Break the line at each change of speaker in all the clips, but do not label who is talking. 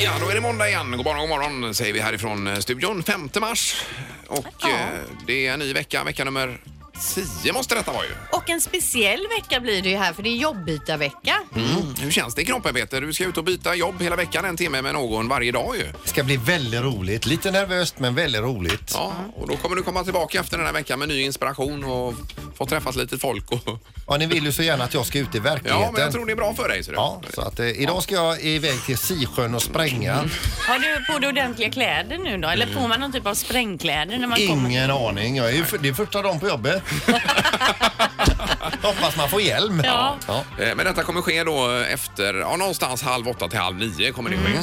fredag igen. God morgon, god morgon säger vi härifrån eh, studion. 5 mars. Och
Ja.
eh, det är en ny vecka. Vecka nummer 10 måste detta vara ju.
Och en speciell vecka blir det ju här för det är jobbbytarvecka.
Mm. Hur känns det i kroppen Peter? Du ska ut och byta jobb hela veckan en timme med någon varje dag ju.
Det ska bli väldigt roligt. Lite nervöst men väldigt roligt.
Ja, och då kommer du komma tillbaka efter den här veckan med ny inspiration och få träffas lite folk. Och...
Ja, ni vill ju så gärna att jag ska ut i verkligheten.
Ja, men jag tror det är bra för dig. Så du.
Ja, så att, eh, idag ska jag iväg till Sisjön och spränga.
Mm.
Har du på dig ordentliga kläder nu då? Eller får man någon typ av sprängkläder när man kommer?
Ingen aning. Jag är, ju för- det är första dagen på jobbet. Hoppas man får hjälm.
Ja.
Ja.
Eh, Men detta kommer ske då efter, ja, någonstans halv åtta till halv nio kommer det ske eh,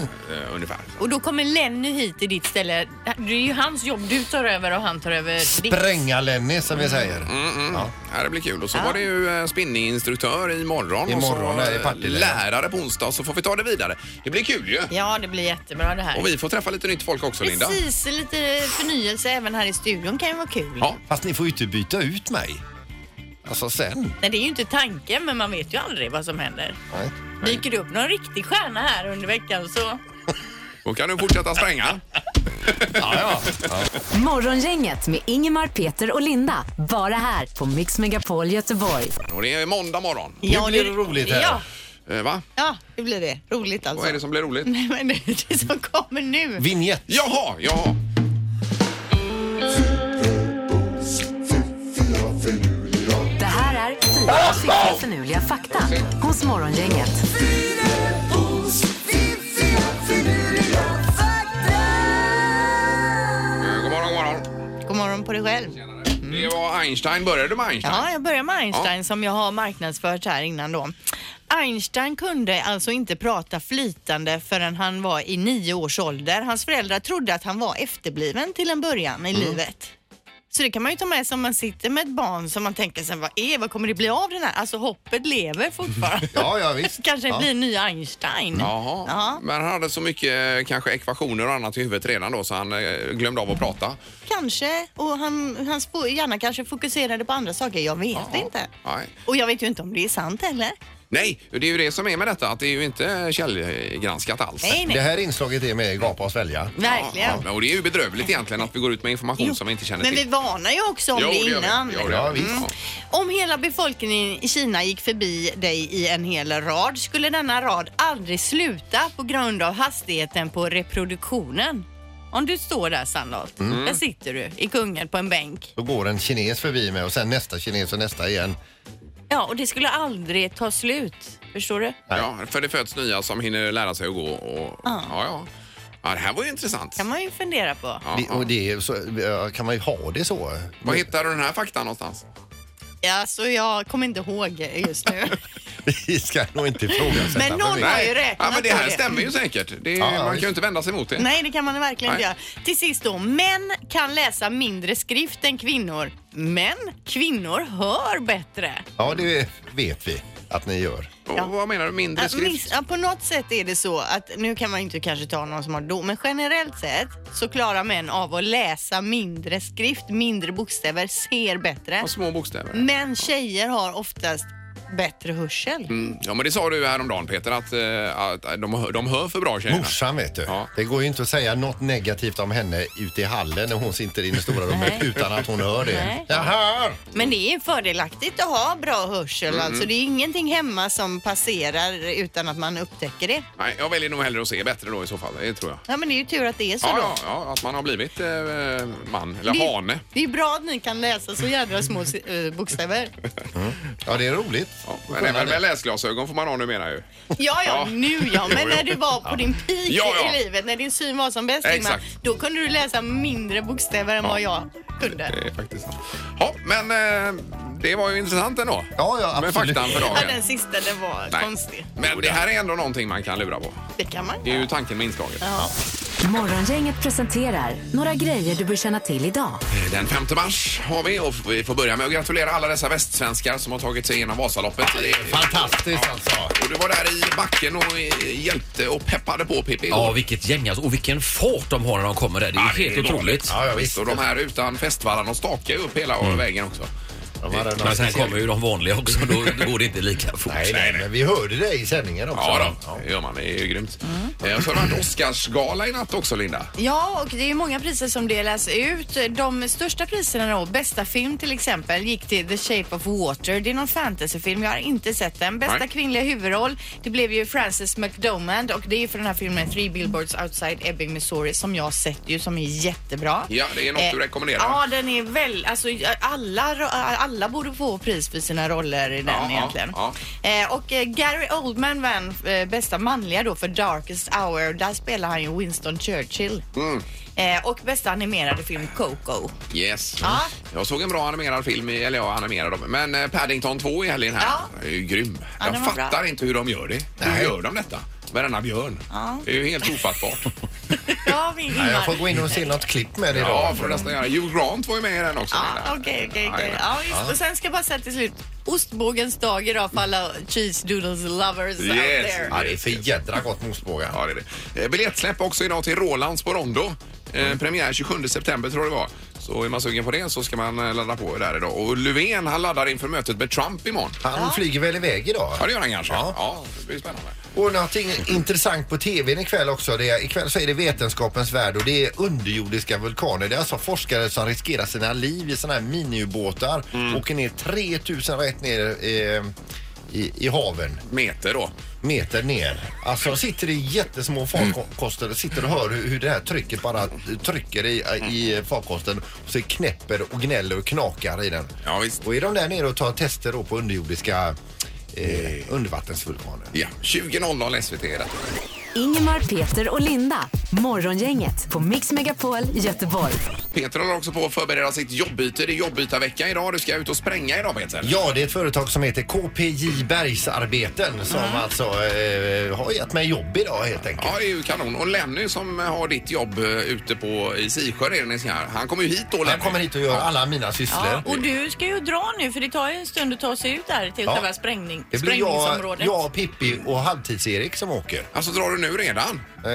ungefär.
Och då kommer Lenny hit i ditt ställe. Det är ju hans jobb du tar över och han tar över ditt.
Spränga Lenny som vi säger.
Mm,
Ja.
Ja, det blir kul. Och så var det ju eh, spinninginstruktör imorgon.
Imorgon
och
är det
så eh,
Partille.
lärare på onsdag. Så får vi ta det vidare. Det blir kul ju.
Ja, det blir jättebra det här.
Och vi får träffa lite nytt folk också, Linda.
Precis, lite förnyelse även här i studion kan ju vara kul.
Ja.
Fast ni får ju inte byta ut mig. Alltså sen.
Nej, det är ju inte tanken, men man vet ju aldrig vad som händer.
Nej.
Dyker det upp någon riktig stjärna här under veckan så...
Då kan du fortsätta spränga.
Ja, ja.
Morgongänget med Ingemar, Peter och Linda. Bara här på Mix Megapol Göteborg.
Och det är måndag morgon.
Ja, blir det roligt här.
Ja,
Eh, Va?
ja, det blir det. Roligt alltså.
Vad är det som blir roligt?
Nej, men det är det som kommer nu.
Vignett.
Jaha, jaha.
Det här är fyra stycken förnuliga fakta hos Morgongänget.
Eh, God morgon, god morgon.
God morgon på dig själv.
Det var Einstein. Började du med Einstein?
Ja, jag börjar med Einstein som jag har marknadsfört här innan då. Einstein kunde alltså inte prata flytande förrän han var i nio års ålder. Hans föräldrar trodde att han var efterbliven till en början i
Mm.
livet. Så det kan man ju ta med sig om man sitter med ett barn som man tänker sig, vad är, vad kommer det bli av den här? Alltså hoppet lever fortfarande.
Ja, ja, visst.
Kanske
Ja.
blir en ny Einstein.
Jaha.
Ja.
Men han hade så mycket eh, kanske ekvationer och annat i huvudet redan då så han eh, glömde av att prata.
Kanske, och han, hans fo- hjärna kanske fokuserade på andra saker, jag vet inte.
Nej.
Och jag vet ju inte om det är sant heller.
Nej, det är ju det som är med detta att det är ju inte källgranskat alls.
Nej, nej.
Det här inslaget är med Gapa och svälja.
Verkligen.
Ja, och det är ju bedrövligt egentligen att vi går ut med information som vi inte känner
Men vi
till.
varnar ju också om
Jo,
det
gör vi.
innan.
Jo, det
Ja,
gör vi.
visst.
Ja.
Om hela befolkningen i Kina gick förbi dig i en hel rad skulle denna rad aldrig sluta på grund av hastigheten på reproduktionen. Om du står där Sandholt,
Mm.
där sitter du i Kungälv på en bänk.
Då går en kines förbi mig och sen nästa kines och nästa igen.
Ja, och det skulle aldrig ta slut. Förstår du?
Ja, för det föds nya som hinner lära sig att gå och... Ja, ja. ja det här var ju intressant.
kan man ju fundera på.
Ja,
Det,
ja.
och det är så, ja, kan man ju ha det så.
Var hittar du den här faktan någonstans?
Ja, så jag kommer inte ihåg just nu.
Vi ska nog inte ifrågasätta.
Men någon-
för
Jag
mycket.
har ju räknat
ja, men det här
på det. Mm.
stämmer ju säkert. Det är,
Ja, ja,
man kan
visst.
ju inte vända sig emot det.
Nej, det kan man verkligen inte
Nej.
göra. Till sist då, män kan läsa mindre skrift än kvinnor. Men kvinnor hör bättre.
Ja, det vet vi att ni gör.
Och,
Ja.
Vad menar du? Mindre
Ja,
skrift?
miss- Ja, på något sätt är det så att, nu kan man ju inte kanske ta någon som har dom, men generellt sett så klarar män av att läsa mindre skrift, mindre bokstäver, ser bättre.
Ja, små bokstäver.
Men tjejer har oftast bättre hörsel.
Mm. Ja, men det sa du häromdagen Peter, att, eh, att de, hör- de hör för bra tjejerna.
Morsan vet du.
Ja.
Det går ju inte att säga något negativt om henne ute i hallen när hon sitter i det stora rummet
Nej.
utan att hon hör det.
Nej.
Jag hör!
Men det är fördelaktigt att ha bra hörsel.
Mm.
Alltså, det är ingenting hemma som passerar utan att man upptäcker det.
Nej, jag väljer nog hellre att se bättre då i så fall. Det tror jag.
Ja, men det är ju tur att det är så
Ja,
då.
ja, ja, att man har blivit eh, man eller
Det-
hane.
Det är bra att ni kan läsa så jädra små eh, bokstäver.
Ja, det är roligt.
Ja, men även med läsglasögon får man ha numera ju.
Ja,
Ja.
ja, nu ja. Men när du var på din peak
Ja, ja.
i livet, när din syn var som bäst, Ingmar,
Exakt.
då kunde du läsa mindre bokstäver än vad jag
Det
kunde.
är faktiskt sant. Ja, men eh, det var ju intressant ändå.
Ja, ja,
Med
absolut.
faktan för dagen.
Ja, den sista, den var
Nej.
konstig.
Men det här är ändå någonting man kan lura på.
Det kan man
Det är ju tanken med inslaget.
Morgongänget presenterar några grejer du bör känna till idag.
Eh, Den 5 mars har vi och vi får börja med att gratulera alla dessa västsvenskar som har tagit sig igenom Vasaloppet.
Fantastiskt alltså.
Och du var där i backen och eh, hjälpte och peppade på Pippi.
Ja, vilket gäng alltså. Och vilken fart de har när de kommer där. Det är
Ja,
ju helt
galet.
otroligt.
Ja, ja, visst. Och de här utan fästvallan, de stakar ju upp hela vägen också.
De hade någon
Men sen
speciell-
kommer ju de vanliga också, då, då går det inte lika fort.
Nej, nej, men vi hörde det i sändningen också.
Ja, då, det gör man. Det är ju grymt. Mm. Och så har det varit Oscarsgala i natt också, Linda.
Ja, och det är många priser som delas ut. De största priserna då, bästa film till exempel, gick till The Shape of Water. Det är någon fantasyfilm, jag har inte sett den. Bästa
Nej.
kvinnliga huvudroll, det blev ju Frances McDormand och det är för den här filmen Three Billboards Outside Ebbing, Missouri som jag har sett ju, som är jättebra.
Ja, det är något du rekommenderar.
Eh, Ja, den är väl, alltså alla, ro- alla borde få pris för sina roller i den
Ja, ja,
egentligen.
ja.
Eh, och eh, Gary Oldman vann eh, bästa manliga då för Darkest Hour. Där spelar han ju Winston Churchill. Eh, och bästa animerade film Coco.
Yes.
Ja.
Jag såg en bra animerad film, i- eller ja, animerad om. Men eh, Paddington 2 i helgen här.
Ja.
Det är ju grym.
Ja,
jag
den var bra. Mm.
fattar inte hur de gör det. Hur gör de detta? Med denna björn. Det är ju helt ofattbart.
Ja, min
Nej, jag
Ingmar.
får gå in och se något klipp med det idag.
ja, får nästan göra. Hugh Grant var ju med i den också.
Ja,
Linda.
Okej, okej,
Ja,
okej.
jajamän.
Ja, just. Och sen ska jag bara säga till slut. Ostbågens dag idag för alla cheese doodles lovers out
Yes.
there.
Ja, det är för jädra gott med ostbågar.
Ja, det är det. Eh, Biljettsläpp också idag till Rolands på Rondo. Eh, Premiär 27 september tror jag det var. Så är man sugen på det så ska man eh, ladda på där idag. Och Löfven han laddar inför mötet med Trump imorgon.
Han flyger väl iväg idag?
Ja, det gör han kanske. Ja,
Ja.
det blir spännande.
Och någonting intressant på tvn ikväll också. Det är, ikväll så är det Vetenskapens värld och det är underjordiska vulkaner. Det är alltså forskare som riskerar sina liv i sådana här miniubåtar.
Mm.
Åker ner 3000 rätt ner eh, i, i haven.
Meter då.
Meter ner. Alltså de sitter i jättesmå farkoster och sitter och hör hur, hur det här trycket bara trycker i, i farkosten. Och så knäpper och gnäller och knakar i den.
Ja, visst.
Och är de där nere och tar tester då på underjordiska eh, undervattensvulkaner.
Ja, 20.00 SVT är detta.
Ingemar, Peter och Linda. Morgongänget på Mix Megapol Göteborg.
Peter håller också på att förbereda sitt jobbyte. Det är jobbytarvecka idag. Du ska ut och spränga idag Peter.
Ja, det är ett företag som heter KPJ Bergsarbeten som
Mm.
alltså eh, har gett mig jobb idag helt enkelt.
Ja, det är ju kanon. Och Lenny som har ditt jobb eh, ute på i Sisjö redan i sin här. Han kommer ju hit då Lenny.
Jag kommer hit och gör alla mina sysslor.
Ja, och du ska ju dra nu för det tar ju en stund att ta sig ut där till
Ja.
själva sprängning,
Det blir jag,
sprängningsområdet.
jag, Pippi och Halvtids-Erik som åker. Eh,
Alltså drar du nu redan?
Han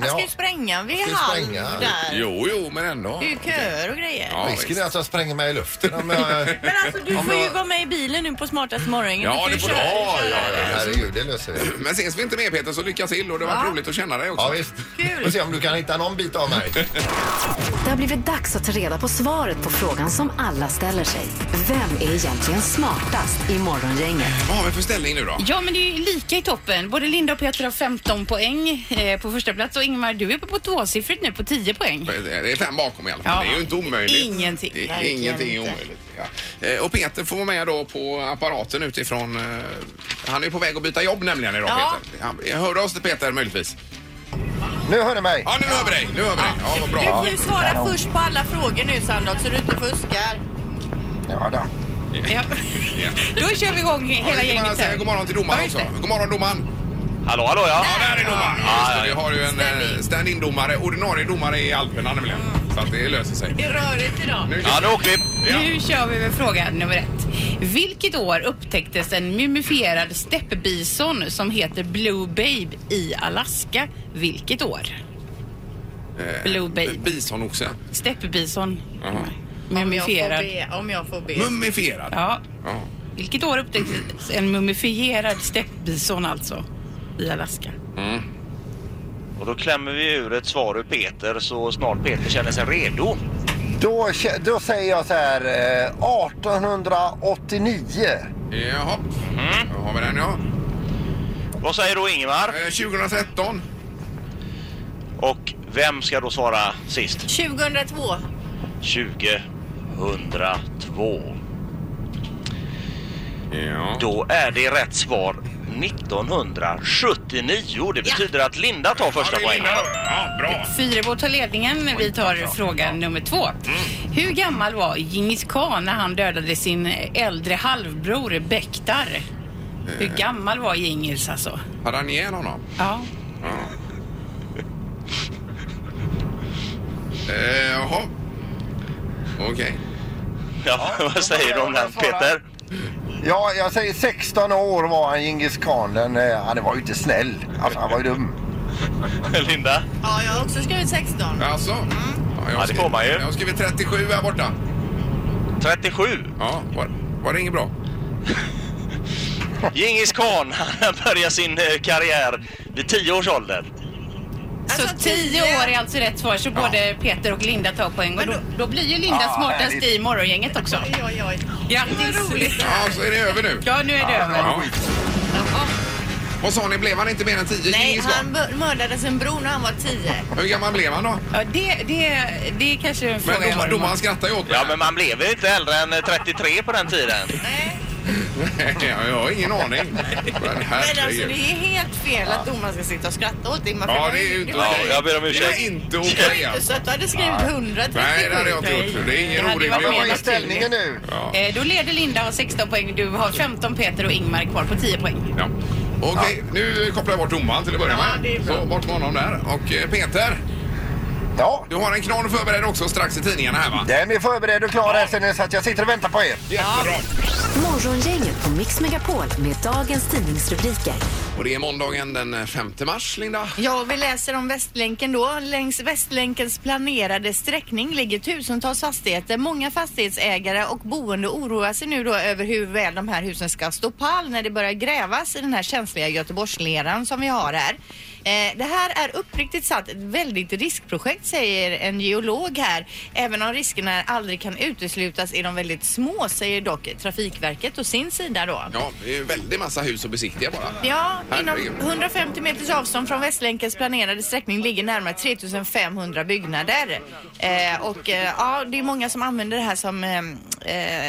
ska
ja.
ju spränga vid
Ska ju
halv
spränga.
där.
Jo, jo, men ändå.
Det är ju köer och grejer.
Ja,
Risken
visst.
är att jag spränger mig i luften om jag...
Men alltså du
Om
får ju
jag-
vara med i bilen nu på smartaste morgonen.
Ja, det
ju
får du.
köra-
Ja,
köra.
ja, ja.
Herregud, det löser vi.
Men ses vi inte mer Peter så lycka till och det var
Ja.
roligt att känna dig också.
Ja, visst.
Kul.
Får se om du kan hitta någon bit av mig.
Det har blivit dags att ta reda på svaret på frågan som alla ställer sig. Vem är egentligen smartast i Morgongänget?
Vad har vi för ställning nu då?
Ja, men det är ju lika i toppen. Både Linda och Peter har 15 poäng eh, på första plats och Ingmar, du är uppe på tvåsiffrigt nu på 10 poäng.
Det är fem bakom i alla fall.
Ja.
Det är ju inte omöjligt.
Ingenting.
Det är,
Verkligen
ingenting är
inte.
omöjligt. Ja. Eh, Och Peter får vara med då på apparaten utifrån. eh, Han är ju på väg att byta jobb nämligen idag
Ja.
Peter. Han- Jag hörde oss till Peter möjligtvis.
Nu hör du mig.
Ja, nu hör vi dig. Nu hör vi dig. Ja, vad
Du
bra.
får ju svara först på alla frågor nu Sandholt så du inte fuskar.
Ja, då.
Ja. Då kör vi igång hela
Ja, vi kan bara
gänget
säga
här.
god morgon till domaren
Ja,
också.
just
God morgon domaren.
Hallå, hallå ja.
Ja, där är domaren. Just det,
ja,
vi
ja.
har ju en eh, stand-in domare, ordinarie domare i Alperna nämligen. Så att det löser sig.
Det är rörigt idag.
Nu
Ja, nu åker vi.
Nu kör vi med fråga nummer ett. Vilket år upptäcktes en mumifierad steppbison som heter Blue Babe i Alaska? Vilket år?
Eh,
Blue Babe.
Bisonoxe.
Steppbison.
Mm.
Jaha.
Om jag får
Mumifierad.
be. Om jag får be.
Mumifierad.
Ja,
Ja.
Vilket år upptäcktes en mumifierad steppbison alltså i Alaska?
Och då klämmer vi ur ett svar ur Peter så snart Peter känner sig redo.
Då, kä- då säger jag så här, eh, 1889.
Jaha.
Mm.
Då har vi den ja.
Vad säger då Ingmar?
Eh, 2013.
Och vem ska då svara sist?
2002.
2002.
Ja.
Då är det rätt svar 1979. Det betyder att Linda tar första
Ja, det är
poängen.
Linda. Ja, bra.
Fyrebo tar ledningen. Vi tar fråga nummer två. Hur gammal var Djingis khan när han dödade sin äldre halvbror Bektar? Hur gammal var Djingis alltså?
Hade han ihjäl honom?
Ja.
Eh, Jaha. Okej.
Ja, vad säger du om den Peter?
Ja, jag säger 16 år var han Djingis khan. Den, eh, han var ju inte snäll. Alltså han var ju dum.
Linda?
Ja, jag har också skrivit 16.
Alltså? Ja, jag
Ja, det Mm. får man ju.
Jag har skrivit 37 här borta.
37.
Ja, var, var det inget bra?
Djingis Khan, han började sin eh, karriär vid 10 års ålder.
Så
Alltså,
tio
tio.
år är alltså rätt svar så både Peter och Linda tar poäng. Och då, då blir ju Linda
Ja,
smartast
härligt.
i morgongänget också.
Oj, oj.
Grattis!
Ja, så är det över nu.
Ja, nu är det över.
Ja. Vad sa ni, blev han inte mer än 10
Nej,
Djingis
han
Khan?
bör- mördade sin bror när han var tio.
Hur gammal blev han då?
Ja, det, det, det är kanske en fråga
Men
jag har
dom-
imorgon.
domaren skrattar ju åt mig.
Ja, men man blev väl inte äldre än eh, 33 på den tiden?
Ja, Jag har ingen aning. Men
Men alltså det
herregud.
är helt fel att domaren ska sitta och skratta åt dig. Man får
Ja,
vara-
det är ju inte
var-
Ja,
okej.
jag ber om
Det var
ursäkt.
inte okej
inte
alltså.
så att du hade skrivit 137
Nej, det hade jag inte gjort. Det är
Det
ingen
hade
orimlig
varit
Vad
mer
är
åsikt.
ställningen nu?
Ja.
Eh, Då leder Linda har 16 poäng, du har 15 Peter och Ingmar kvar på 10 poäng.
Ja. Okej, nu kopplar jag bort domaren till att börja med. Så bort med honom där. Och eh, Peter,
Ja,
du har en knorr förberedd också strax i tidningarna här va?
den är förberedd och klar här sen så att jag sitter och väntar på er.
Jättebra.
Morgongänget på Mix Megapol med dagens tidningsrubriker.
Och det är måndagen den 5 mars, Linda.
Ja, vi läser om Västlänken då. Längs Västlänkens planerade sträckning ligger tusentals fastigheter. Många fastighetsägare och boende oroar sig nu då över hur väl de här husen ska stå pall när det börjar grävas i den här känsliga Göteborgsleran som vi har här. Eh, det här är uppriktigt sagt ett väldigt riskprojekt säger en geolog här. Även om riskerna aldrig kan uteslutas är de väldigt små säger dock Trafikverket å sin sida då.
Ja, det är ju en väldig massa hus att besiktiga bara.
Ja, inom
Herregud.
150 meters avstånd från Västlänkens planerade sträckning ligger närmare 3500 byggnader. Eh, och eh, ja, det är många som använder det här som eh,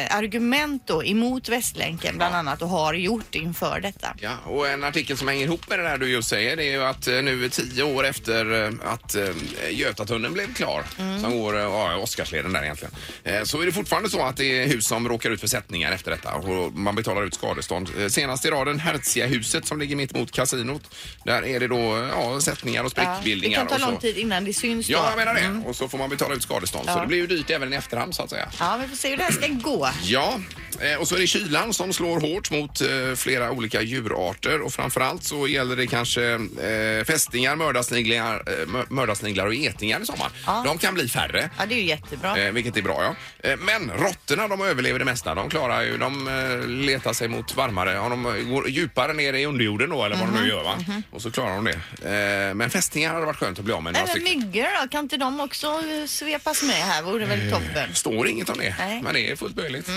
eh, argument då emot Västlänken bland annat och har gjort inför detta.
Ja, och en artikel som hänger ihop med det där du just säger det är ju att eh, nu tio år efter eh, att eh, Götatunneln blev klar,
Mm.
som går, eh, ja, Oscarsleden där egentligen, eh, så är det fortfarande så att det är hus som råkar ut för sättningar efter detta och man betalar ut skadestånd. Eh, Senast i raden Hertziahuset som ligger mitt mot kasinot. Där är det då eh, ja, sättningar och
Ja, det
sprickbildningar.
kan ta
och så.
lång tid innan det syns
Ja,
då.
jag menar det. Och så får man betala ut skadestånd. Så
Ja.
det blir ju dyrt även i efterhand så att säga.
Ja, vi får se hur det här ska gå.
Ja, eh, och så är det kylan som slår hårt mot eh, flera olika djurarter och framförallt så gäller det kanske eh, fästingar, mördarsniglar, eh, mör- mördarsniglar och getingar i sommar.
Ja.
De kan bli färre.
Ja, det är ju jättebra.
Eh, vilket är bra ja. Eh, men råttorna de överlever det mesta. De klarar ju, de eh, letar sig mot varmare, ja, de eh, går djupare ner i underjorden då eller vad
Mhm.
de nu gör va. Och så klarar de det. Eh, men fästingar hade varit skönt att bli av med några
Nej, men
stycken.
myggor då? Kan inte de också eh, svepas med här? Vore väl
Eh.
toppen.
Står inget om det,
Nej. Mm.
men det är fullt möjligt.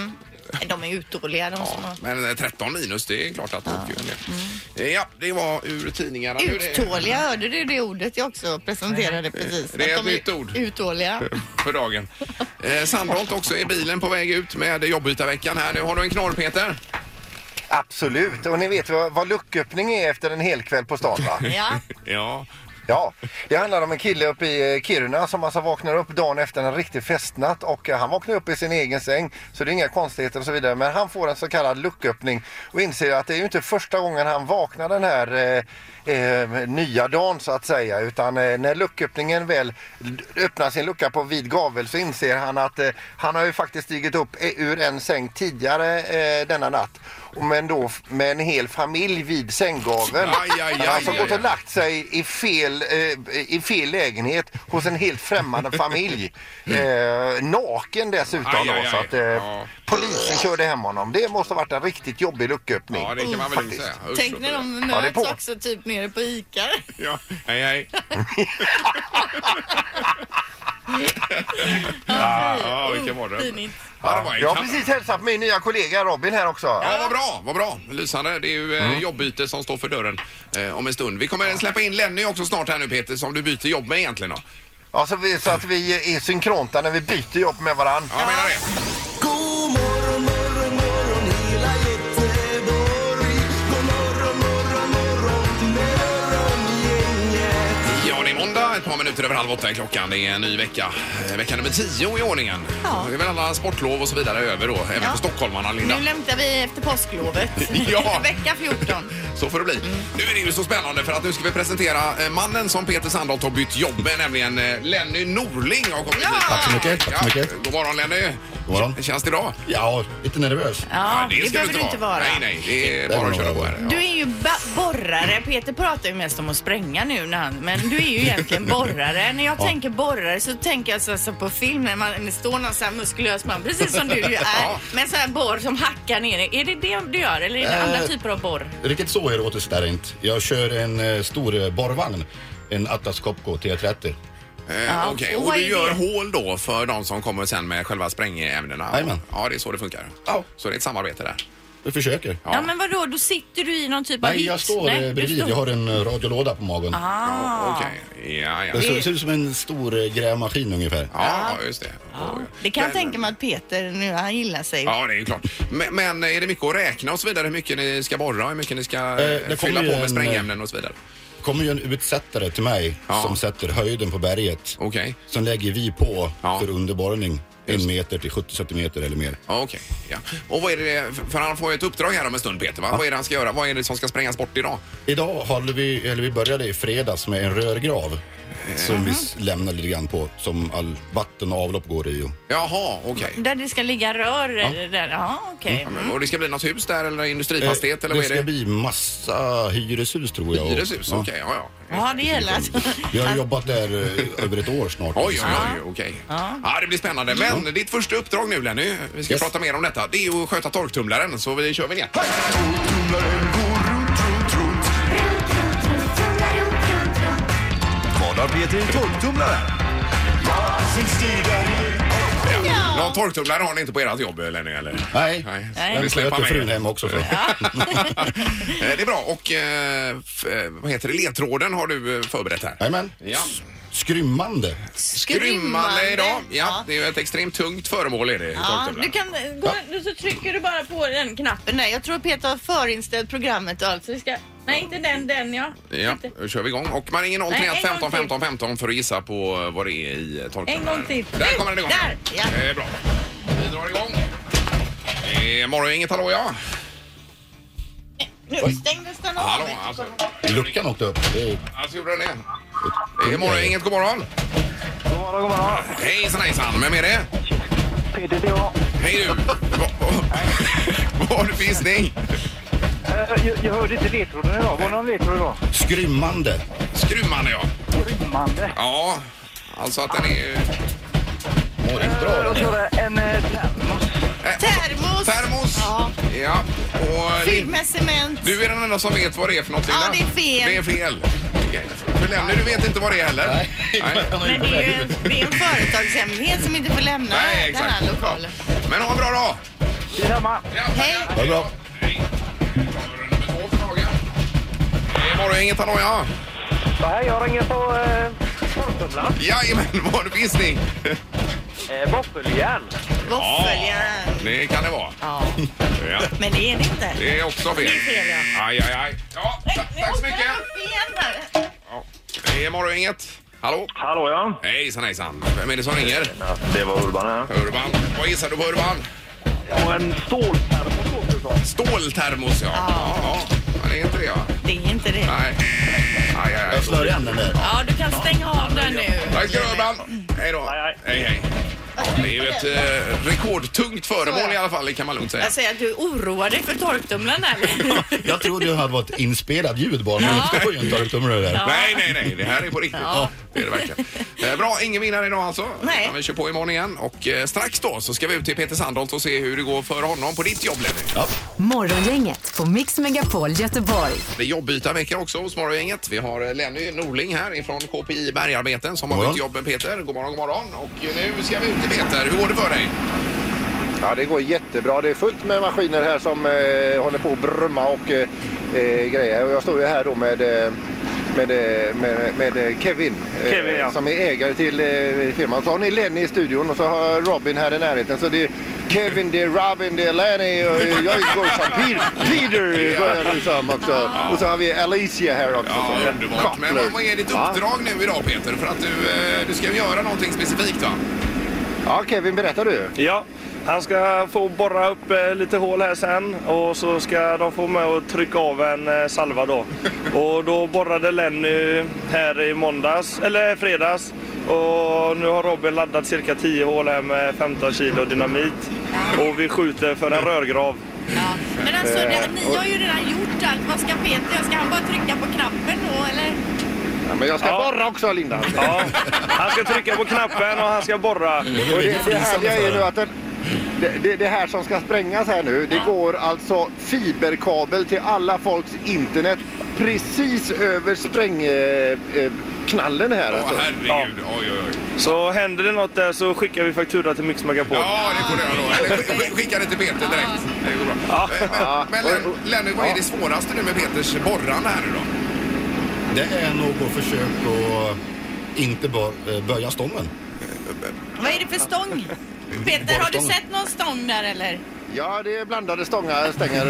Nej, De är utdåliga de som har...
Ja, men eh, 13 minus, det är klart att det åker ju en del.
Mm.
Eh, Ja, det var ur tidningarna. Nu är det-
Uttåliga, hörde du det ordet jag också presenterade precis?
Det är
Att
ett
de
nytt ord.
Uttåliga.
för dagen. Eh, Sandholt också i bilen på väg ut med jobbytarveckan här. Nu har du en knorr Peter.
Absolut, och ni vet vad, vad lucköppning är efter en hel kväll på stan va?
Ja.
Ja.
Ja, det handlar om en kille uppe i eh, Kiruna som alltså vaknar upp dagen efter en riktig festnatt och eh, han vaknar upp i sin egen säng så det är inga konstigheter och så vidare men han får en så kallad lucköppning och inser att det är ju inte första gången han vaknar den här eh, eh, nya dagen så att säga utan eh, när lucköppningen väl l- öppnar sin lucka på vid gavel så inser han att eh, han har ju faktiskt stigit upp eh, ur en säng tidigare eh, denna natt Och men då f- med en hel familj vid sänggaveln.
Aj, aj, aj,
han har alltså
aj,
gått och
aj.
lagt sig i fel, eh, i fel lägenhet hos en helt främmande familj. Eh, naken dessutom
Mm. Aj,
då,
aj,
så
aj.
att eh,
Ja.
polisen körde hem honom. Det måste ha varit en riktigt jobbig lucköppning.
ja, det kan man väl inte
Oh, faktiskt.
säga. Usch,
Tänk när de
Ja, det är
möts
på.
också typ nere på ICA.
Ja, hej hej. ja, ja, vilken var det?
Oh, Pinigt.
Ja, det var en
Jag har
knapp.
precis hälsat min nya kollega Robin här också.
Ja, vad bra, vad bra. Lysande. Det är ju
Mm.
eh, jobbyte som står för dörren eh, om en stund. Vi kommer släppa in Lenny också snart här nu Peter, som du byter jobb med egentligen då.
Ja, så, vi, så att vi är synkronta när vi byter jobb med varandra.
Ja, jag menar det. Ja, det är måndag, ett par minuter över halv åtta är klockan. Det är en ny vecka. Eh, Vecka nummer tio i ordningen.
Ja.
Det är väl alla sportlov och så vidare över då, även
Ja.
för stockholmarna, Linda.
Nu lämnar vi efter påsklovet.
Ja.
Vecka 14.
Så får det
Mm.
bli. Nu är det ju så spännande för att nu ska vi presentera eh, mannen som Peter Sandholt har bytt jobb med, nämligen eh, Lenny Norling har kommit hit.
Tack så
mycket, tack så mycket.
God morgon Lenny.
God morgon.
Hur känns det idag?
Ja, lite nervös.
Ja, det,
ska
behöver du inte vara.
Nej, nej, det är
Det
bara att
behöver
köra
man
på
vara.
här. Ja.
Du är ju ba- borrare. Peter pratar ju mest om att spränga nu, när han, men du är ju egentligen borrare. När jag tänker borrare så tänker jag så här, så på film när man det står någon så här muskulös man, precis som du ju är, med en sån här borr som hackar ner. Är det det du gör eller är det andra
Eh.
typer av borr?
Riktigt så är det åt där inte. Jag kör en eh, stor eh, borrvagn. En Atlas Copco T30.
Eh,
Ja,
okej.
och
Och
vad
du
är
gör
det?
hål då för de som kommer sen med själva sprängämnena?
Jajamän.
Ja, det är så det funkar.
Ja.
Så det är ett samarbete där.
Vi försöker.
Ja. men vadå, då sitter du i någon typ av
Nej,
hytt?
jag står eh,
du
bredvid.
står-
Jag har en eh, radiolåda på magen.
Ah,
Okej. Ja, ja.
Det ser, ser ut som en stor eh, grävmaskin ungefär.
Ja, just det. Ja.
Det kan jag
Men-
tänka mig att Peter nu, han gillar sig.
Ja, det är ju klart. Men, men är det mycket att räkna och så vidare? Hur mycket ni ska borra och hur mycket ni ska
det
eh,
kommer
fylla på
ju
med
en,
sprängämnen och så vidare?
kommer ju en utsättare till mig
Ja.
som sätter höjden på berget.
Okej.
Sen lägger vi på
Ja.
för underborrning. En meter till 70 centimeter eller mer.
Ja, okej. Ja. Och vad är det, för han får ju ett uppdrag här om en stund Peter, va? Vad är det han ska göra? Vad är det som ska sprängas bort idag?
Idag håller vi, eller vi började i fredags med en rörgrav som vi s- lämnar lite grann på som all vatten och avlopp går i. och-
Jaha, okej.
Där det ska ligga rör? eh, Där. Ja, okej.
Mm.
Ja, men- Och det ska bli något hus där eller industrifastighet eller
Eh, det
vad är det?
ska bli massa hyreshus tror jag. och-
Hyreshus?
ja. Mm.
Okej, ja, ja.
Ja, det gäller att...
Vi har jobbat där eh, över ett år snart.
Oj, oj, oj, okej. Ja. det blir spännande. Men ditt första uppdrag nu Lenny, vi ska
Yes.
prata mer om detta, det är ju att sköta torktumlaren. Så vi kör vinjett.
Vad har Peter i torktumlaren?
Ja. Någon torktumlare har ni inte på ert jobb Lenny eller?
Nej,
Nej. Vi
den
släpper
sköter
med
frun
er.
hem också. Så.
Eh, Det är bra och eh, f- eh, vad heter det? Ledtråden har du eh, förberett här.
Jajamän.
Ja.
Skrymmande.
Skrymmande idag. Ja, det är ju ett extremt tungt föremål är det.
Ja,
torktumlaren.
Ah, du kan eh, gå, du så trycker du bara på den knappen där. Jag tror Peter har förinställt programmet och allt så vi ska... Nej, inte den, den ja.
Ja, då kör vi igång. Och man ringer 031
Nej, en
15
gång till.
15 15 för att gissa på vad det är i torktumlaren.
En gång till.
Där kommer den igång.
Där, ja.
Det är bra. Vi drar igång. Det är Morgongänget, hallå ja.
Nu stängdes den av.
Hallå,
vet du.
alltså.
Luckan åkte upp. Det är
Alltså gjorde den det. Det är Morgongänget, god morgon.
God morgon, god morgon.
Hejsan hejsan, vem är det?
Peter, det är jag.
Hej du. Va- va- Vad har du för gissning?
Eh, Jag, hörde inte ledtråden idag. Var det någon ledtråd idag?
skrymmande.
Skrymmande ja.
Rymmande.
Ja, alltså att den är...
Mår inte bra den här.
En eh,
Termos!
termos.
Termos.
Ja.
Ja. Och
Fylld med cement.
Du är den enda som vet vad det är för något, Linda.
Ja, det är fel.
Det är fel. Okej. För Lenny, du vet inte vad det är heller.
Nej.
Nej.
Men det är ju en, det är en företagshemlighet som inte får lämna
Nej,
den
exakt.
här lokalen.
Ja. Men ha en bra dag!
Detsamma.
Ja,
Hej.
tackar.
Ha det bra.
Hej. Vi tar nummer två för dagen. Det är Morgongänget, hallå ja!
Ja, hej, jag ringer på eh, torktumlaren.
Jajamän, vad har du för gissning?
Eh, Våffeljärn.
Våffeljärn.
Det kan det vara.
Ja.
Ja.
Men det är det inte.
Det är också fel.
är fel, ja.
Aj, aj, aj. Ja, ta-
Nu
tack så
åkte
mycket!
den upp igen där.
Ja. Det är Morgongänget. Hallå?
Hallå ja.
Hejsan, hejsan. Vem är det som ringer?
Det var Urban här.
Urban. Vad gissar du på Urban?
Och en ståltermos låter det som.
Ståltermos, ja. ja. ja. Det är inte det, ja.
Det är inte det.
Nej. Aj, aj, aj.
Jag slår igen den där.
Ja, du kan stänga av den nu.
Tack ska du ha, Urban. Hej då.
Hej,
Hej, hej. Ja, det är ju ett eh, rekordtungt föremål i alla fall, det kan man lugnt säga.
Jag säger att du oroar dig för torktumlaren eller?
Jag trodde det hade varit inspelat ljud bara, men det var ju inte torktumlare där.
Nej, nej, nej. Det här är på riktigt.
Ja.
Det är det verkligen. Eh, bra, ingen vinnare idag alltså.
Nej.
Utan Vi kör på imorgon igen och eh, strax då så ska vi ut till Peter Sandholt och se hur det går för honom på ditt jobb, Lenny.
Morgongänget på Mix Megapol Göteborg.
Det är jobbytarvecka också hos Morgongänget. Vi har eh, Lenny Norling här ifrån KPI Bergarbeten som har
Morgon.
bytt jobb med Peter. God morgon, god morgon. Och eh, nu ska vi ut till Peter. Hur går det för dig?
Ja, det går jättebra. Det är fullt med maskiner här som eh, håller på att brumma och eh, eh, grejer. Och jag står ju här då med, eh, med, eh, med, med eh, Kevin, eh,
Kevin, ja.
som är ägare till eh, firman. Så har ni Lenny i studion och så har jag Robin här i närheten. Så det är Kevin, det är Robin, det är Lenny och eh, jag går som Peter, Peter går jag nu som också. Och så har vi Alicia här också.
Ja,
som är
underbart. Men
koppler.
vad- vad är ditt
Ja.
uppdrag nu idag Peter? För att du, eh, du ska ju göra någonting specifikt va?
Ja, Kevin, berättar du?
Ja, han ska få borra upp eh, lite hål här sen och så ska de få med och trycka av en eh, salva då. Och då borrade Lenny här i måndags, eller fredags. Och nu har Robin laddat cirka 10 hål här med 15 kilo dynamit. Och vi skjuter för en rörgrav.
Ja. Men alltså, det, ni har ju redan gjort allt. Vad ska Peter göra? Ska han bara trycka på knappen då eller?
men jag ska borra också, Linda.
Ja. Han ska trycka på knappen och han ska borra.
Och det, det härliga är nu att den, det, det, det här som ska sprängas här nu, det går alltså fiberkabel till alla folks internet precis över sprängknallen här. Alltså.
herregud. Oj, oj, oj.
Så händer det något där så skickar vi faktura till Mix Megapol.
Ja, det får du göra då. Eller sk- sk- skicka det till Peter direkt. Det går bra. Eh, Men, men Len- Lenny, vad är det svåraste nu med Peters borrande här nu då?
Det är något försök att inte bör, eh, böja stången.
Vad är det för stång?
Peter, har du sett
någon stång där eller?
Ja, det är blandade stångar, stänger.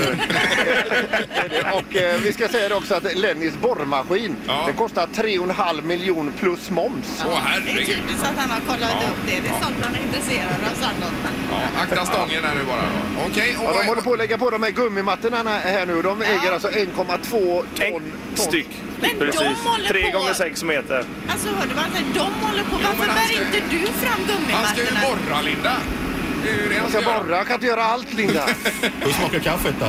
och eh, vi ska säga det också att Lennys borrmaskin, den kostar 3,5 miljon plus moms.
Åh, herregud.
Typiskt att han har kollat upp det. Det är sånt han är intresserad av, Sandholt.
Ja, akta stången här nu bara då. Okej,
Ja,
och
de håller på att lägga på de här gummimattorna här nu. De äger alltså 1,2 ton.
Styck.
Men de
Precis.
håller på.
Tre gånger sex meter.
Alltså hörde man inte? De håller på. Varför bär inte du fram
han ska ju
gummimattorna?
borra Linda. Det är ju det han
Jag
ska
ska
göra.
borra, jag kan inte göra allt Linda.
Hur smakar kaffet då?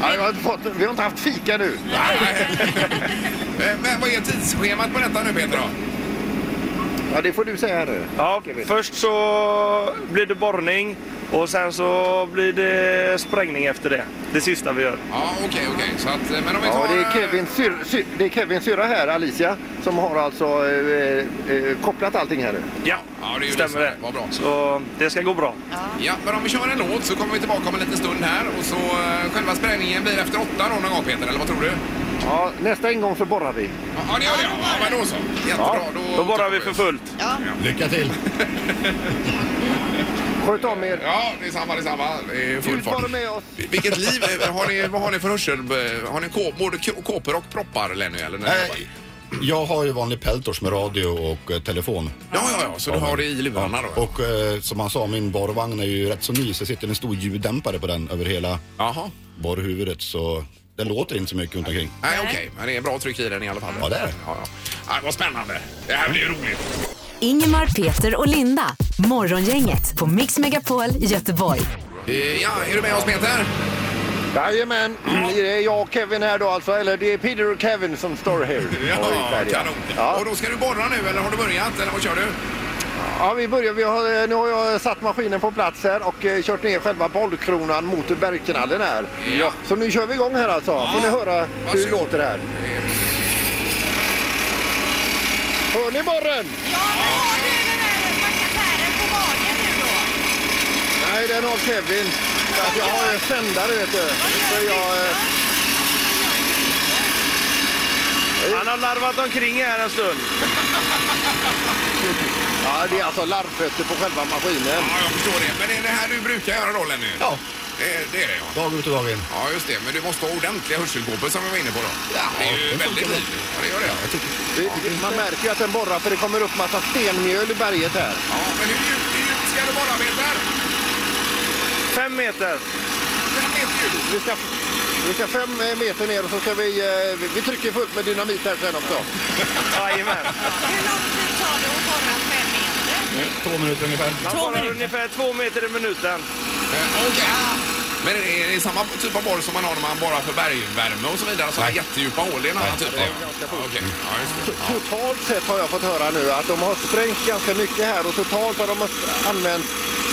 Nej, jag har inte fått, vi har inte haft fika nu.
Eh, Men vad är tidsschemat på detta nu Peter då?
Ja, det får du säga nu.
Ja, först så blir det borrning och sen så blir det sprängning efter det. Det sista vi gör.
Ja, okej, okej. Så att, eh, men om vi
Ja,
tar...
det är Kevins syr, sy, det är Kevins syrra här, Alicia, som har alltså eh, eh, kopplat allting här nu.
Ja,
Ja, det är ju det som
stämmer
är.
det.
Vad bra.
Så det ska gå bra.
Ja, men om vi kör en låt så kommer vi tillbaka om en liten stund här och så eh, själva sprängningen blir efter åtta då någon gång Peter, eller vad tror du?
Ja, nästa ingång så borrar vi.
Ja, Ja, det gör det. Ja, Ja, men då så. Jättebra.
Ja, då borrar vi för fullt.
Lycka till!
Sköt om er.
Ja, det är samma, det är samma. Det är full
Gud
fart.
vare med oss.
Vilket liv eh, har ni, vad har ni för hörsel? Har ni kå- både k- kåpor och proppar Lenny eller?
Eh,
När ni jobbar?
Nej, jag har ju vanlig Peltors med radio och eh, telefon.
ja, ja, ja, så du har det i lurarna då?
Och eh, som han sa, min borrvagn är ju rätt så ny så det sitter en stor ljuddämpare på den över hela
Jaha.
borrhuvudet så det låter inte så mycket runt omkring.
Nej, okej. Men det är bra tryck i den i alla fall.
Ja, det är det.
Ja, ja. Nej, vad spännande. Det här blir ju roligt.
Ingemar, Peter och Linda. Morgongänget på Mix Megapol Göteborg.
Eh, Ja, är du med oss Peter?
Jajamän, det är jag och Kevin här då alltså, eller det är Peter och Kevin som står här. Och
Ja,
är färdiga.
kanon.
Ja.
Och då ska du borra nu eller har du börjat eller vad kör du?
Ja, vi börjar. Vi har, eh, nu har jag satt maskinen på plats här och eh, kört ner själva bollkronan mot bergknallen här.
Ja.
Så nu kör vi igång här alltså. Får ni höra hur det
Varsågod.
låter här. Hör ni borren?
Ja, men har du den där mackapären på magen nu då?
Nej, den har Kevin. Så att jag har en sändare vet du. Så jag, eh,
Han har larvat omkring här en stund.
ja, det är alltså larvfötter på själva maskinen.
Ja, jag förstår det. Men är det här du brukar göra då Lenny?
Ja,
Eh, Det, det är det ja.
dag ut och dag in.
Ja, just det. Men du måste ha ordentliga hörselkåpor som vi var inne på då.
Ja,
det är ju
det funkar
väldigt
bra.
liv. Ja, det gör det. Ja,
Det- det- Man märker ju att den borrar för det kommer upp massa stenmjöl i berget här.
men hur djupt hur djupt ska du borra, Peter?
Fem meter.
Väldigt djupt.
Vi ska, vi ska fem eh, meter ner och så ska vi, eh, vi, vi trycker fullt med dynamit här sen också.
Jajamän.
Hur lång tid tar det att borra fem meter?
Två minuter ungefär.
Man borrar ungefär två meter i minuten.
Eh, Okej. Men är det samma typ av borr som man har när man borrar för bergvärme och så vidare? Så här jättedjupa hål i en annan typ? Nej, Okej. Ja, just det. Ja.
Totalt sett har jag fått höra nu att de har sprängt ganska mycket här och totalt har de använt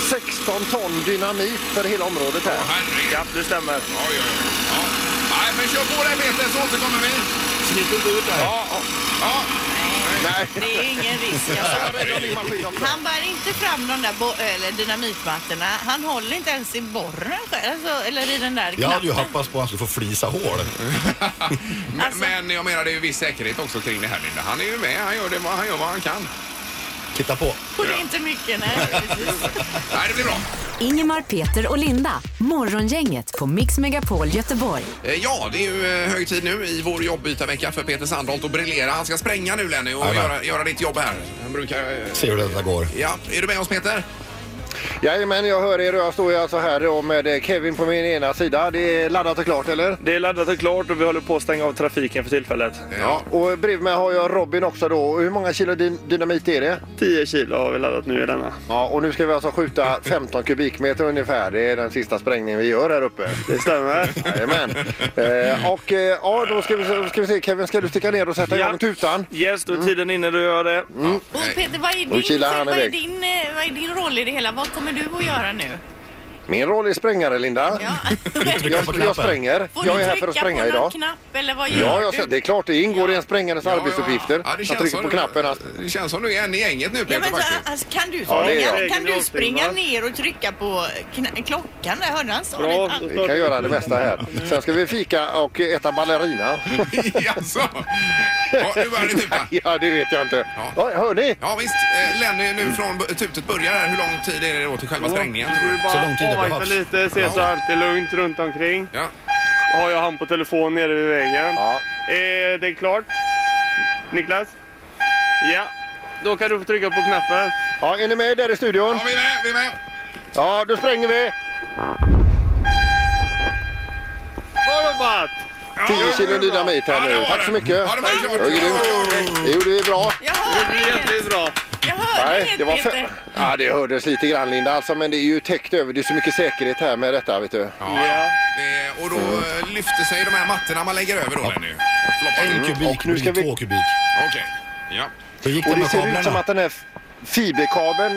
16 ton dynamit för hela området här.
Åh, herregud.
Ja, det stämmer.
Oj, oj, oj. Ja. Nej, men kör på dig Peter så återkommer vi.
Snitt inte ut där.
Ja, ja. ja.
Nej.
Det är ingen risk. Alltså. Han bär inte fram de där bo- eller dynamitmattorna. Han håller inte ens i borren själv, alltså, eller i den där
Jag hade ju
knappen.
hoppats på att han skulle få flisa hål.
men, men jag menar det är ju viss säkerhet också kring det här Linda. Han är ju med, han gör, det, han gör vad han kan.
Titta på.
Och det är inte mycket, nej. precis.
Nej, det blir bra.
Ingemar, Peter och Linda. Morgongänget på Mix Megapol Göteborg.
Eh, Ja, det är ju eh, hög tid nu i vår jobbytarvecka för Peter Sandholt att briljera. Han ska spränga nu Lenny och
Jajamän.
göra, göra ditt jobb här. Han brukar... eh,
Se hur detta går.
Ja, är du med oss Peter?
Jajamän, jag hör er och jag står ju alltså här då med eh, Kevin på min ena sida. Det är laddat och klart eller?
Det är laddat och klart och vi håller på att stänga av trafiken för tillfället.
Ja. Och bredvid mig har jag Robin också då. Hur många kilo din- dynamit är det?
10 kilo har vi laddat nu i denna.
Ja, och nu ska vi alltså skjuta 15 kubikmeter ungefär. Det är den sista sprängningen vi gör här uppe.
Det stämmer.
Jajamän. Eh, och eh, ja, då ska vi, se- ska vi se. Kevin, ska du sticka ner och sätta igång tutan?
Yes, då är tiden inne du gör det.
Och Peter, vad är,
Och
din,
kilar han
vad, är
iväg.
din, eh, vad är din roll i det hela? Vad kommer du att göra nu?
Min roll är sprängare, Linda. Jag, jag spränger.
Får
Jag
du
är här för
trycka
att spränga
på någon
idag.
knapp eller vad gör
Ja, jag, ser-
du?
det är klart. Det ingår i en sprängares arbetsuppgifter.
Ja, det
Han
känns
trycker
som
på
du-
knappen. alltså. Han-
Det känns som du är en i gänget nu
Ja,
Peter
men så,
faktiskt.
alltså, kan du
Ja, det
springa,
är jag.
kan du
Egen
springa
låsning,
ner och trycka på kna- klockan? Där hörde han sa
Bra.
det.
Vi kan göra det mesta här. Sen ska vi fika och äta ballerina.
Jaså? Ja, nu börjar det tuta.
Ja, det vet jag inte. Ja, hör ni?
Ja visst, Eh, Lenny nu från bu- tutet börjar här. Hur lång tid är det då till själva sprängningen? tror
Du
du?
Så lång tid det
bara avvakta
behövs.
lite, se så allt är lugnt runt omkring.
Ja.
Har jag han på telefon nere vid vägen.
Ja.
Är det klart? Niklas? Ja. Då kan du få trycka på knappen.
Ja, är ni med där i studion?
ja, vi är med, vi är med.
Ja, då spränger vi.
Bra jobbat!
10 kilo dynamit
Ja,
här
det
nu.
var
Tack
det.
så mycket.
Ja, det var klart.
Det var grymt. Det gjorde vi bra.
Jag
Det blir
hörde det.
jättebra.
Jag hörde
Nej,
det,
det, var
Peter.
för... ja, det hördes lite grann Linda, alltså, men det är ju täckt över. Det är så mycket säkerhet här med detta. Vet du.
Ja, ja. Det- Och då eh, lyfter sig de här mattorna man lägger över då Lenny. Floppar
En
in.
kubik
Mm, Och nu ska
blir
vi-
två kubik.
Okej. Ja.
Hur gick
Och
det
det
med
ser ut som
kablarna?
att den här fiberkabeln,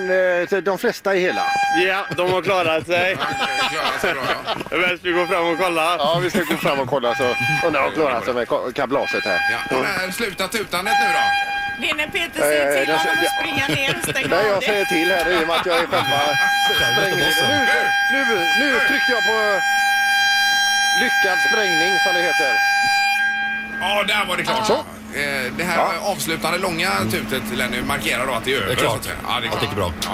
eh, de flesta är hela.
Ja, de har klarat sig.
Han klarar sig bra ja.
Det är bäst vi går fram och kollar.
Ja, vi ska gå fram och kolla så undrar om klarar sig med ka- kablaset här. Mm.
ja. Och där slutar tutandet nu då.
Det är när Peter
Eh,
säger till
jag-
honom att
jag-
springa ner och stänga
Nej,
av
jag
det.
säger till här i och med att jag är själva sprängledaren. Nu, nu, nu tryckte jag på lyckad sprängning som det heter.
Ja, där var det klart.
Så.
Eh, Det här
Ja.
avslutande långa tutet Lenny markerar då att det är över.
Det är klart.
så att säga. Ja, det är
Att det gick bra.
Ja,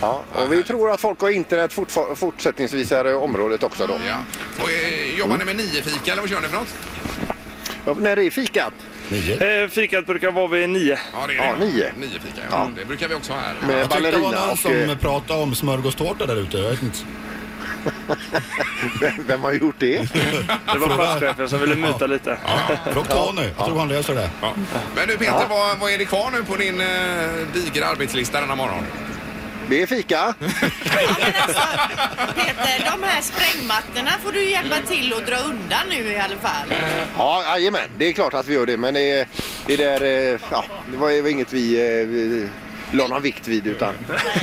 ja.
Ja, och vi tror att folk har internet fortfa- fortsättningsvis här i området också då.
ja. Och, eh, jobbar ni med niofika eller vad kör ni för något?
Ja, När det är fikat.
Nio.
Eh, Fikat brukar vara vid nio.
Ja, det är
Ja, nio.
Niofika, ja. Det brukar vi också ha här.
Med
Jag tyckte det var
ballerina
någon
och...
som
eh,
pratade om smörgåstårta där ute. Jag vet inte.
Vem, vem har gjort det?
Det var platschefen som ville muta lite.
Rock-Tony. Jag tror han löser det.
Ja. Men du Peter, vad, vad är det kvar nu på din eh, digra arbetslista denna morgon?
Det är fika.
Ja, men alltså, Peter, de här sprängmattorna får du hjälpa till att dra undan nu i alla fall.
Ja, jajamän. Det är klart att vi gör det. Men det, det där... eh, Ja, det var ju inget vi, eh, vi la någon vikt vid utan...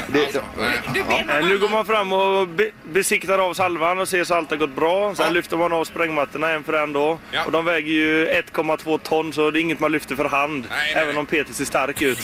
Det,
Nej.
Du ber
Eh,
någon
Nu går
annan.
man fram och be- besiktar av salvan och ser så allt har gått bra. Sen
Ja.
lyfter man av sprängmattorna en för en då.
Ja.
Och de väger ju 1,2 ton så det är inget man lyfter för hand.
Nej, nej,
Även
nej.
om Peter ser stark ut.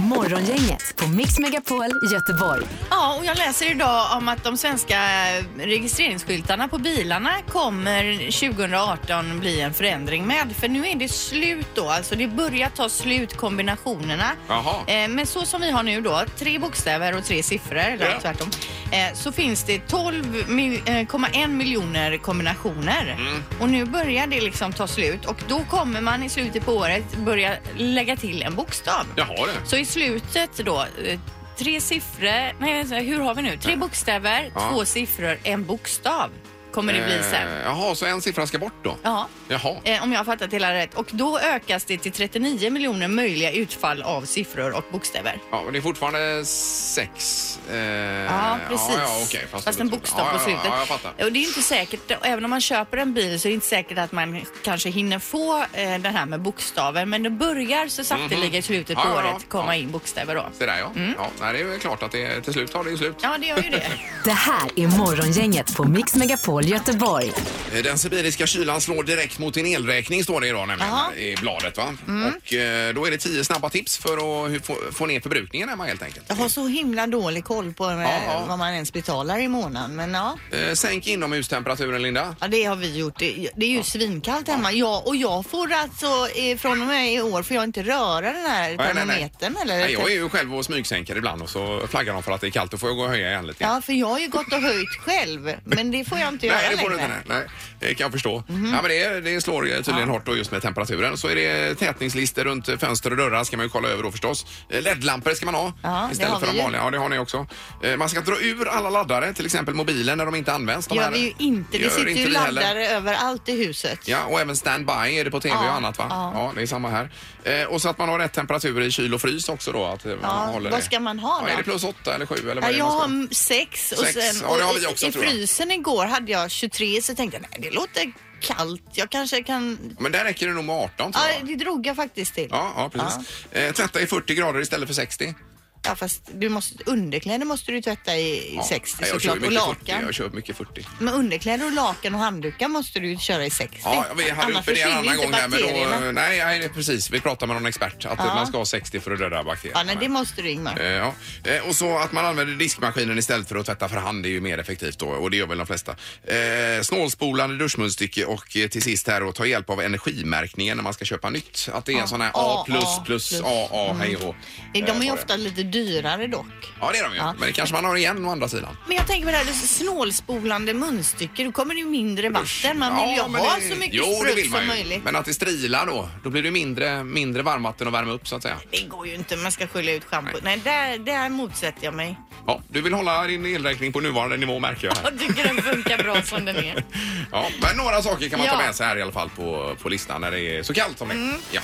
Morgongänget på Mix Megapol Göteborg.
Ja, och jag läser idag om att de svenska eh, registreringsskyltarna på bilarna kommer 2018 bli en förändring med. För nu är det slut då, alltså det börjar ta slut kombinationerna.
Jaha.
Eh, Men så som vi har nu då, tre bokstäver och tre siffror, eller
Ja.
tvärtom, eh, så finns det 12,1 miljoner kombinationer.
Mm.
Och nu börjar det liksom ta slut och då kommer man i slutet på året börja lägga till en bokstav.
Jaha du.
Så i slutet då, eh, tre siffror, nej vänta, hur har vi nu? Tre bokstäver,
Ja.
två siffror, en bokstav kommer det bli sen.
Eh, Jaha, så en siffra ska bort då?
Ja.
Jaha.
Eh, Om jag har fattat hela rätt. Och då ökas det till 39 miljoner möjliga utfall av siffror och bokstäver.
Ja, men det är fortfarande sex. eh,
Ja, precis.
Ja, ja, okej,
fast,
det
en
betyder-
bokstav
ja,
på
ja,
slutet.
Ja, ja, jag fattar.
och det är inte säkert, även om man köper en bil så är det inte säkert att man kanske hinner få eh, den här med bokstaven. Men det börjar så sakteliga i slutet på
Mhm. Ja, ja, ja.
året komma
Ja.
in bokstäver då.
Det där ja.
Mm.
ja nej, det är väl klart att det, till slut tar det ju slut.
Ja, det gör ju det.
Det här är Morgongänget på Mix Megapol Göteborg.
Eh, Den sibiriska kylan slår direkt mot din elräkning står det idag nämligen
Jaha. Mm.
i bladet va? Och eh, då är det tio snabba tips för att hu- få, få ner förbrukningen hemma helt enkelt.
Jag har så himla dålig koll på eh,
Ja, ja.
vad man ens betalar i månaden. Men ja,
Eh, Sänk inomhustemperaturen Linda.
ja det har vi gjort. Det, det är ju svinkallt hemma. Ja, och jag får alltså eh, från och med i år får jag inte röra den här
nej, nej.
termometern. Eller?
Nej, jag är ju själv och smygsänker ibland och så flaggar de för att det är kallt. Då får jag gå och höja igen lite.
Ja, för jag har ju gått och höjt själv. Men det får jag inte göra
Nej, det får du inte.
längre. Mhm.
Nej, nej. Det kan jag förstå. Ja, men det, det slår ju tydligen hårt då just med temperaturen. Så är det tätningslister runt fönster och dörrar ska man ju kolla över då förstås. Eh, LED-lampor ska man ha
Ja, det
istället
har
för
vi
de
ju.
vanliga. Ja, det har ni också. Eh, Man ska dra ur alla laddare, till exempel mobilen när de inte används. De
gör
här-
vi ju inte. Det
Gör
sitter ju
det heller.
laddare överallt i huset.
Ja, och även standby är det på tv
Ja,
och annat va?
ja.
Ja. det är samma här. Eh, och så att man har rätt temperatur i kyl och frys också då. Att eh, man
Ja,
håller
vad
det.
ska man ha
ja,
då?
är det plus åtta eller sju eller vad
Ja,
är det
jag
man ska ha?
har sex och
Sex.
sen
Ja, det har vi
och
också,
i
tror jag.
frysen igår hade jag 23 så tänkte jag nej det låter kallt. Jag kanske kan...
Men där räcker det nog med 18 tror
Ja,
jag.
det drog jag faktiskt till.
Ja, ja precis. Eh, tvätta i 40 grader istället för 60.
Ja, fast du måste, underkläder måste du tvätta i i
Ja.
60
Nej, jag kör
såklart och
mycket 40.
lakan.
Jag kör mycket 40.
Men underkläder och lakan och handdukar måste du ju köra i 60.
Ja, vi hade
Annars
uppe det en
försvinner
annan
inte
gång här men
bakterierna.
då, nej, nej, det är precis. Vi pratade med någon expert att
Ja.
man ska ha 60 för att döda bakterierna.
Ja, nej, det måste du Ingmar.
Eh, Ja. Eh, Och så att man använder diskmaskinen istället för att tvätta för hand är ju mer effektivt då och det gör väl de flesta. Eh, snålspolande duschmunstycke och eh, till sist här att ta hjälp av energimärkningen när man ska köpa nytt. Att det är en sån här A++,
A++, plus.
AA,
Mm.
hej och hå.
De
Eh,
är ju
så
ofta lite dyrare dock.
Ja, det är de ju. Men det kanske man har igen å andra sidan.
Men jag tänker på det här det är snålspolande munstycke, då kommer det ju mindre vatten. Man vill ju
men
ha
det-
så mycket
jo, det vill
sprutt
man
som
ju.
möjligt.
Men att det strilar då, då blir det mindre, mindre varmvatten att värma upp så att säga.
Det går ju inte, man ska skölja ut schampo. Nej, där, där motsätter jag mig.
Ja, du vill hålla din elräkning på nuvarande nivå märker jag. Här.
Jag tycker den funkar bra som den är.
Ja, men några saker kan man ta
Ja. Mm.
med sig här i alla fall på, på listan när det är så kallt som det är. Ja.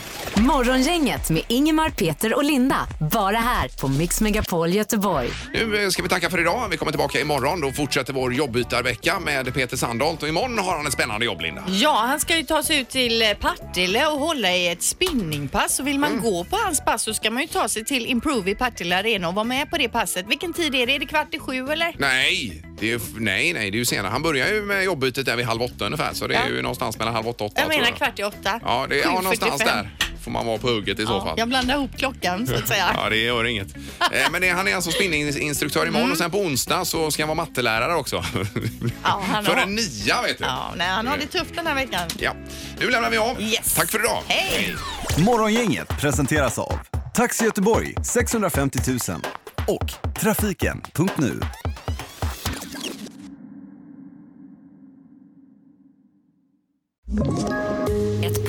Morgongänget med Ingemar, Peter och Linda. Bara här på Mix Megapol Göteborg.
Nu eh, ska vi tacka för idag. Vi kommer tillbaka imorgon. Då fortsätter vår jobbytarvecka med Peter Sandholt. Och imorgon har han ett spännande jobb, Linda.
Ja, han ska ju ta sig ut till eh, Partille och hålla i ett spinningpass. Och vill
Mm.
man gå på hans pass så ska man ju ta sig till Improve i Partille Arena och vara med på det passet. Vilken tid är det? Är det kvart i sju eller?
Nej, det är ju, nej, nej, det är ju senare. Han börjar ju med jobbytet där vid halv åtta ungefär. Så det är
Ja.
ju någonstans mellan halv åtta och åtta.
Jag
tror
menar kvart i åtta.
Ja, det är ja, någonstans
7.45.
där får man vara på hugget i så fall.
Jag blandar ihop klockan så att säga.
Ja, det gör inget. Eh, Men det, han är alltså spinninginstruktör
Mm.
imorgon och sen på onsdag så ska han vara mattelärare också.
Ja, han
För
har-
en nia vet du.
Ja, nej, han har det tufft den här veckan.
Ja. Nu lämnar vi av.
Yes.
Tack för idag.
Hej!
Morgongänget presenteras av Taxi Göteborg 650 000 och Trafiken.nu.
Ett